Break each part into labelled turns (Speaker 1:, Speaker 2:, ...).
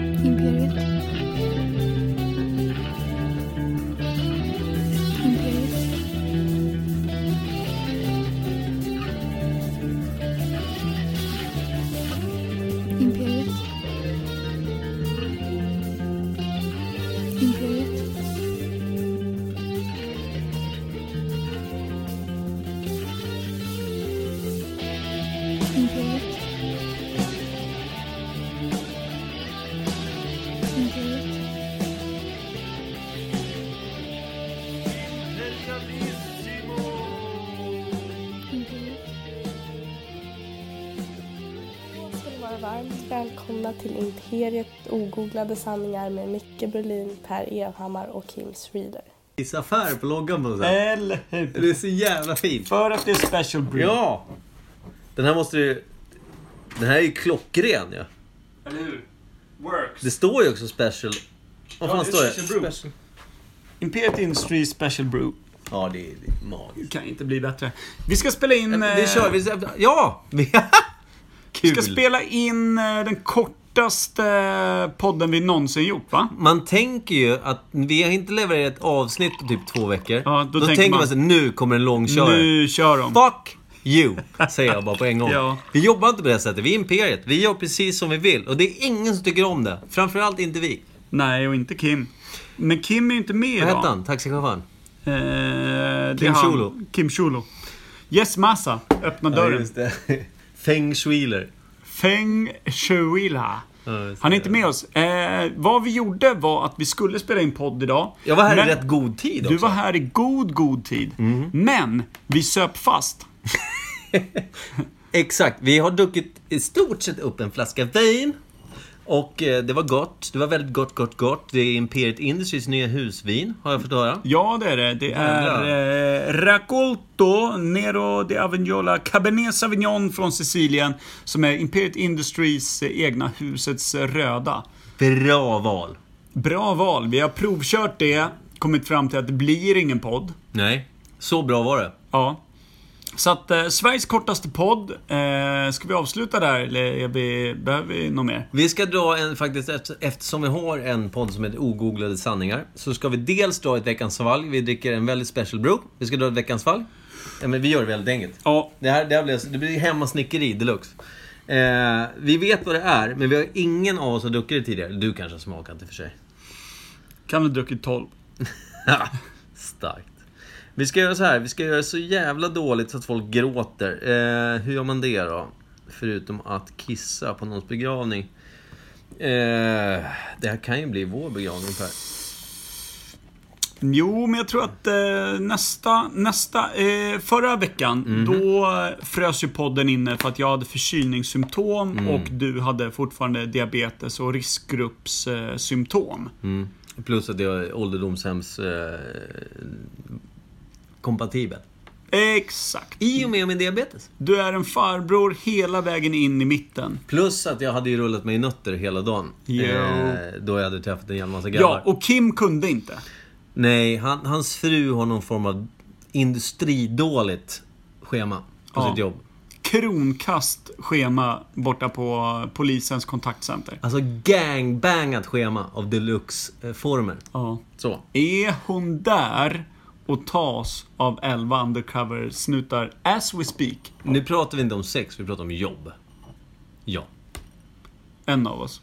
Speaker 1: Imperiet. Imperiet. Imperiet. Imperiet. Imperiet. Imperiet. Imperiet.
Speaker 2: ska ni vara varmt välkomna till Imperiet ogooglade sanningar med Micke Berlin, Per Evhammar och Kim Reader.
Speaker 3: Kiss affär på loggan på något sätt.
Speaker 4: Eller hur?
Speaker 3: Det är så jävla fint.
Speaker 4: För att det är special brew.
Speaker 3: Eh. Ja! Den här måste du... Den här är ju klockren ju. Ja.
Speaker 4: Eller hur? Works.
Speaker 3: Det står ju också special. Vad fan
Speaker 4: Ja,
Speaker 3: står det?
Speaker 4: special brew. Imperiet Industries special brew.
Speaker 3: Ja, det är, det är magiskt.
Speaker 4: Kan inte bli bättre. Vi ska spela in...
Speaker 3: Äh, Det kör
Speaker 4: eh,
Speaker 3: vi. Ja!
Speaker 4: Vi
Speaker 3: Kul.
Speaker 4: ska spela in eh, den kortaste eh, podden vi någonsin gjort, va?
Speaker 3: Man tänker ju att vi har inte levererat ett avsnitt på typ två veckor.
Speaker 4: Ja, då tänker
Speaker 3: man
Speaker 4: man
Speaker 3: sig nu kommer en långkörare.
Speaker 4: Nu kör de.
Speaker 3: Fuck you! Säger jag bara på en gång.
Speaker 4: Ja.
Speaker 3: Vi jobbar inte på det sättet. Vi är Imperiet. Vi gör precis som vi vill. Och det är ingen som tycker om det. Framförallt inte vi.
Speaker 4: Nej, och inte Kim. Men Kim är ju inte med
Speaker 3: Vad
Speaker 4: idag.
Speaker 3: hette han? Taxichauffören?
Speaker 4: Eh, det
Speaker 3: Kim
Speaker 4: är han.
Speaker 3: Scholo.
Speaker 4: Kim Scholo. Yes Massa, öppna dörren.
Speaker 3: det. Feng Shuiler.
Speaker 4: Feng Shuila.
Speaker 3: Ja, just
Speaker 4: Han
Speaker 3: det.
Speaker 4: är inte med oss. Eh, vad vi gjorde var att vi skulle spela in podd idag.
Speaker 3: Jag var här
Speaker 4: men
Speaker 3: i rätt god tid också. Mm.
Speaker 4: Du var här i god, god tid. Men vi söp fast.
Speaker 3: Exakt. Vi har druckit i stort sett upp en flaska vin. Och eh, det var gott. Det var väldigt gott, gott, gott. Det är Imperiet Industries nya husvin, har jag fått höra.
Speaker 4: Ja, det är det. Det är eh, Raccolto Nero de Avignola Cabernet Sauvignon från Sicilien. Som är Imperiet Industries eh, egna husets eh, röda.
Speaker 3: Bra val.
Speaker 4: Bra val. Vi har provkört det. Kommit fram till att det blir ingen podd.
Speaker 3: Nej, så bra var det.
Speaker 4: Ja. Så att eh, Sveriges kortaste podd. Eh, ska vi avsluta där eller är vi, behöver vi något mer?
Speaker 3: Vi ska dra en, faktiskt, efter- eftersom vi har en podd som heter Ogooglade sanningar, så ska vi dels dra ett Veckans valg. Vi dricker en väldigt special brew. Vi ska dra ett Veckans valg. Ja, men vi gör det väldigt enkelt.
Speaker 4: Ja.
Speaker 3: Det här, det här blir, det blir hemmasnickeri deluxe. Eh, vi vet vad det är, men vi har ingen av oss har druckit det tidigare. Du kanske har smakat i och för sig.
Speaker 4: Kan ha druckit 12.
Speaker 3: Starkt. Vi ska göra så här, vi ska göra så jävla dåligt så att folk gråter. Eh, hur gör man det då? Förutom att kissa på någons begravning. Eh, det här kan ju bli vår begravning Per.
Speaker 4: Jo, men jag tror att eh, nästa, nästa, eh, förra veckan, då frös ju podden inne för att jag hade förkylningssymptom och du hade fortfarande diabetes och riskgruppssymptom. Eh, symptom.
Speaker 3: Plus att jag är ålderdomshems... Eh, kompatibel.
Speaker 4: Exakt.
Speaker 3: I och med min diabetes.
Speaker 4: Du är en farbror hela vägen in i mitten.
Speaker 3: Plus att jag hade ju rullat mig i nötter hela dagen. Eh,
Speaker 4: Jo.
Speaker 3: då jag hade träffat en jävla massa
Speaker 4: Ja,
Speaker 3: grabbar.
Speaker 4: och Kim kunde inte.
Speaker 3: Nej, han, hans fru har någon form av industridåligt schema på
Speaker 4: Ja.
Speaker 3: sitt jobb.
Speaker 4: Kronkast schema borta på polisens kontaktcenter.
Speaker 3: Alltså gangbangat schema av deluxe-former.
Speaker 4: Ja.
Speaker 3: Så.
Speaker 4: Är hon där och tas av 11 undercover-snutar as we speak?
Speaker 3: Nu pratar vi inte om sex, vi pratar om jobb. Ja.
Speaker 4: En av oss.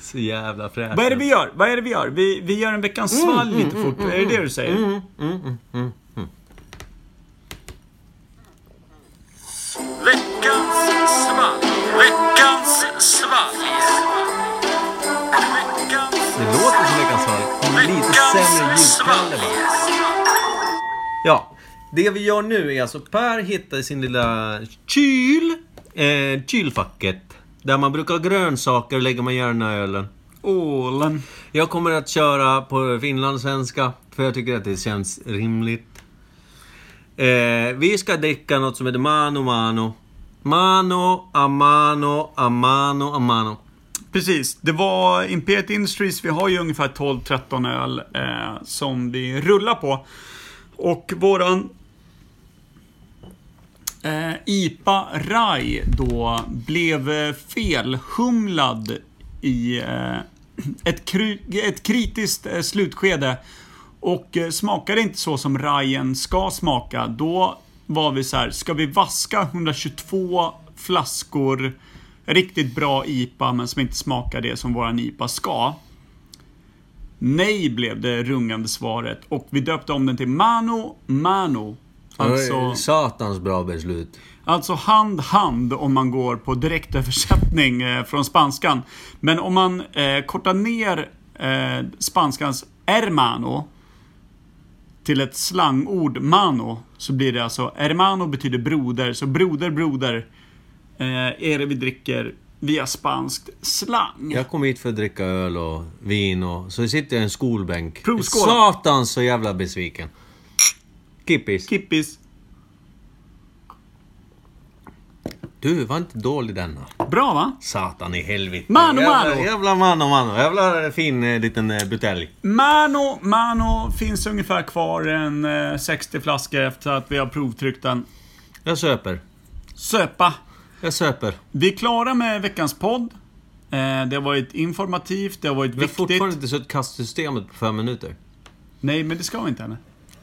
Speaker 3: Så jävla fräscht.
Speaker 4: Vad är det vi gör? Vad är det vi gör? Vi, vi gör en veckans svalg lite fort. är det det du säger?
Speaker 5: Veckans svalg. Veckans svalg. Veckans
Speaker 3: Det låter som Veckans Svalg. men Lite sämre ljudkvalle bara. Ja. Det vi gör nu är alltså Per hittar i sin lilla kyl. Eh, kylfacket. Där man brukar ha grönsaker lägger man gärna ölen.
Speaker 4: Ålen.
Speaker 3: Jag kommer att köra på finlandssvenska, för jag tycker att det känns rimligt. Eh, vi ska dricka något som heter Mano Mano. Mano, Amano, Amano, Amano.
Speaker 4: Precis. Det var Imperiet Industries. Vi har ju ungefär 12-13 öl eh, som vi rullar på. Och våran Eh, IPA Rai då blev eh, felhumlad i eh, ett, kru- ett kritiskt eh, slutskede och eh, smakade inte så som Rajen ska smaka. Då var vi så här, ska vi vaska 122 flaskor riktigt bra IPA men som inte smakar det som våran IPA ska? Nej blev det rungande svaret och vi döpte om den till Mano Mano. Alltså...
Speaker 3: Satans bra beslut.
Speaker 4: Alltså hand, hand om man går på direktöversättning eh, från spanskan. Men om man eh, kortar ner eh, spanskans hermano till ett slangord mano så blir det alltså hermano betyder broder, så broder, broder eh, är det vi dricker via spanskt slang.
Speaker 3: Jag kom hit för att dricka öl och vin och så sitter jag i en skolbänk.
Speaker 4: Provskål.
Speaker 3: Satans så jävla besviken. Kippis.
Speaker 4: Kippis.
Speaker 3: Du, var inte dålig denna.
Speaker 4: Bra va?
Speaker 3: Satan i helvete.
Speaker 4: Mano,
Speaker 3: jävla,
Speaker 4: mano.
Speaker 3: Jävla mano, mano. Jävla eh, fin eh, liten eh, butelj.
Speaker 4: Mano, mano finns ungefär kvar en eh, 60 flaskor efter att vi har provtryckt den.
Speaker 3: Jag söper.
Speaker 4: Söpa!
Speaker 3: Jag söper.
Speaker 4: Vi är klara med veckans podd. Eh, Det har varit informativt, det har varit
Speaker 3: Vi har
Speaker 4: viktigt.
Speaker 3: fortfarande inte sett kastsystemet på fem minuter.
Speaker 4: Nej, men det ska vi inte ännu.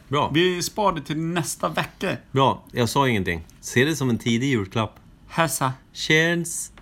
Speaker 3: Bra.
Speaker 4: Vi spar det till nästa vecka.
Speaker 3: Bra. Jag sa ingenting. Se det som en tidig julklapp.
Speaker 4: Hälsa.
Speaker 3: Cheers!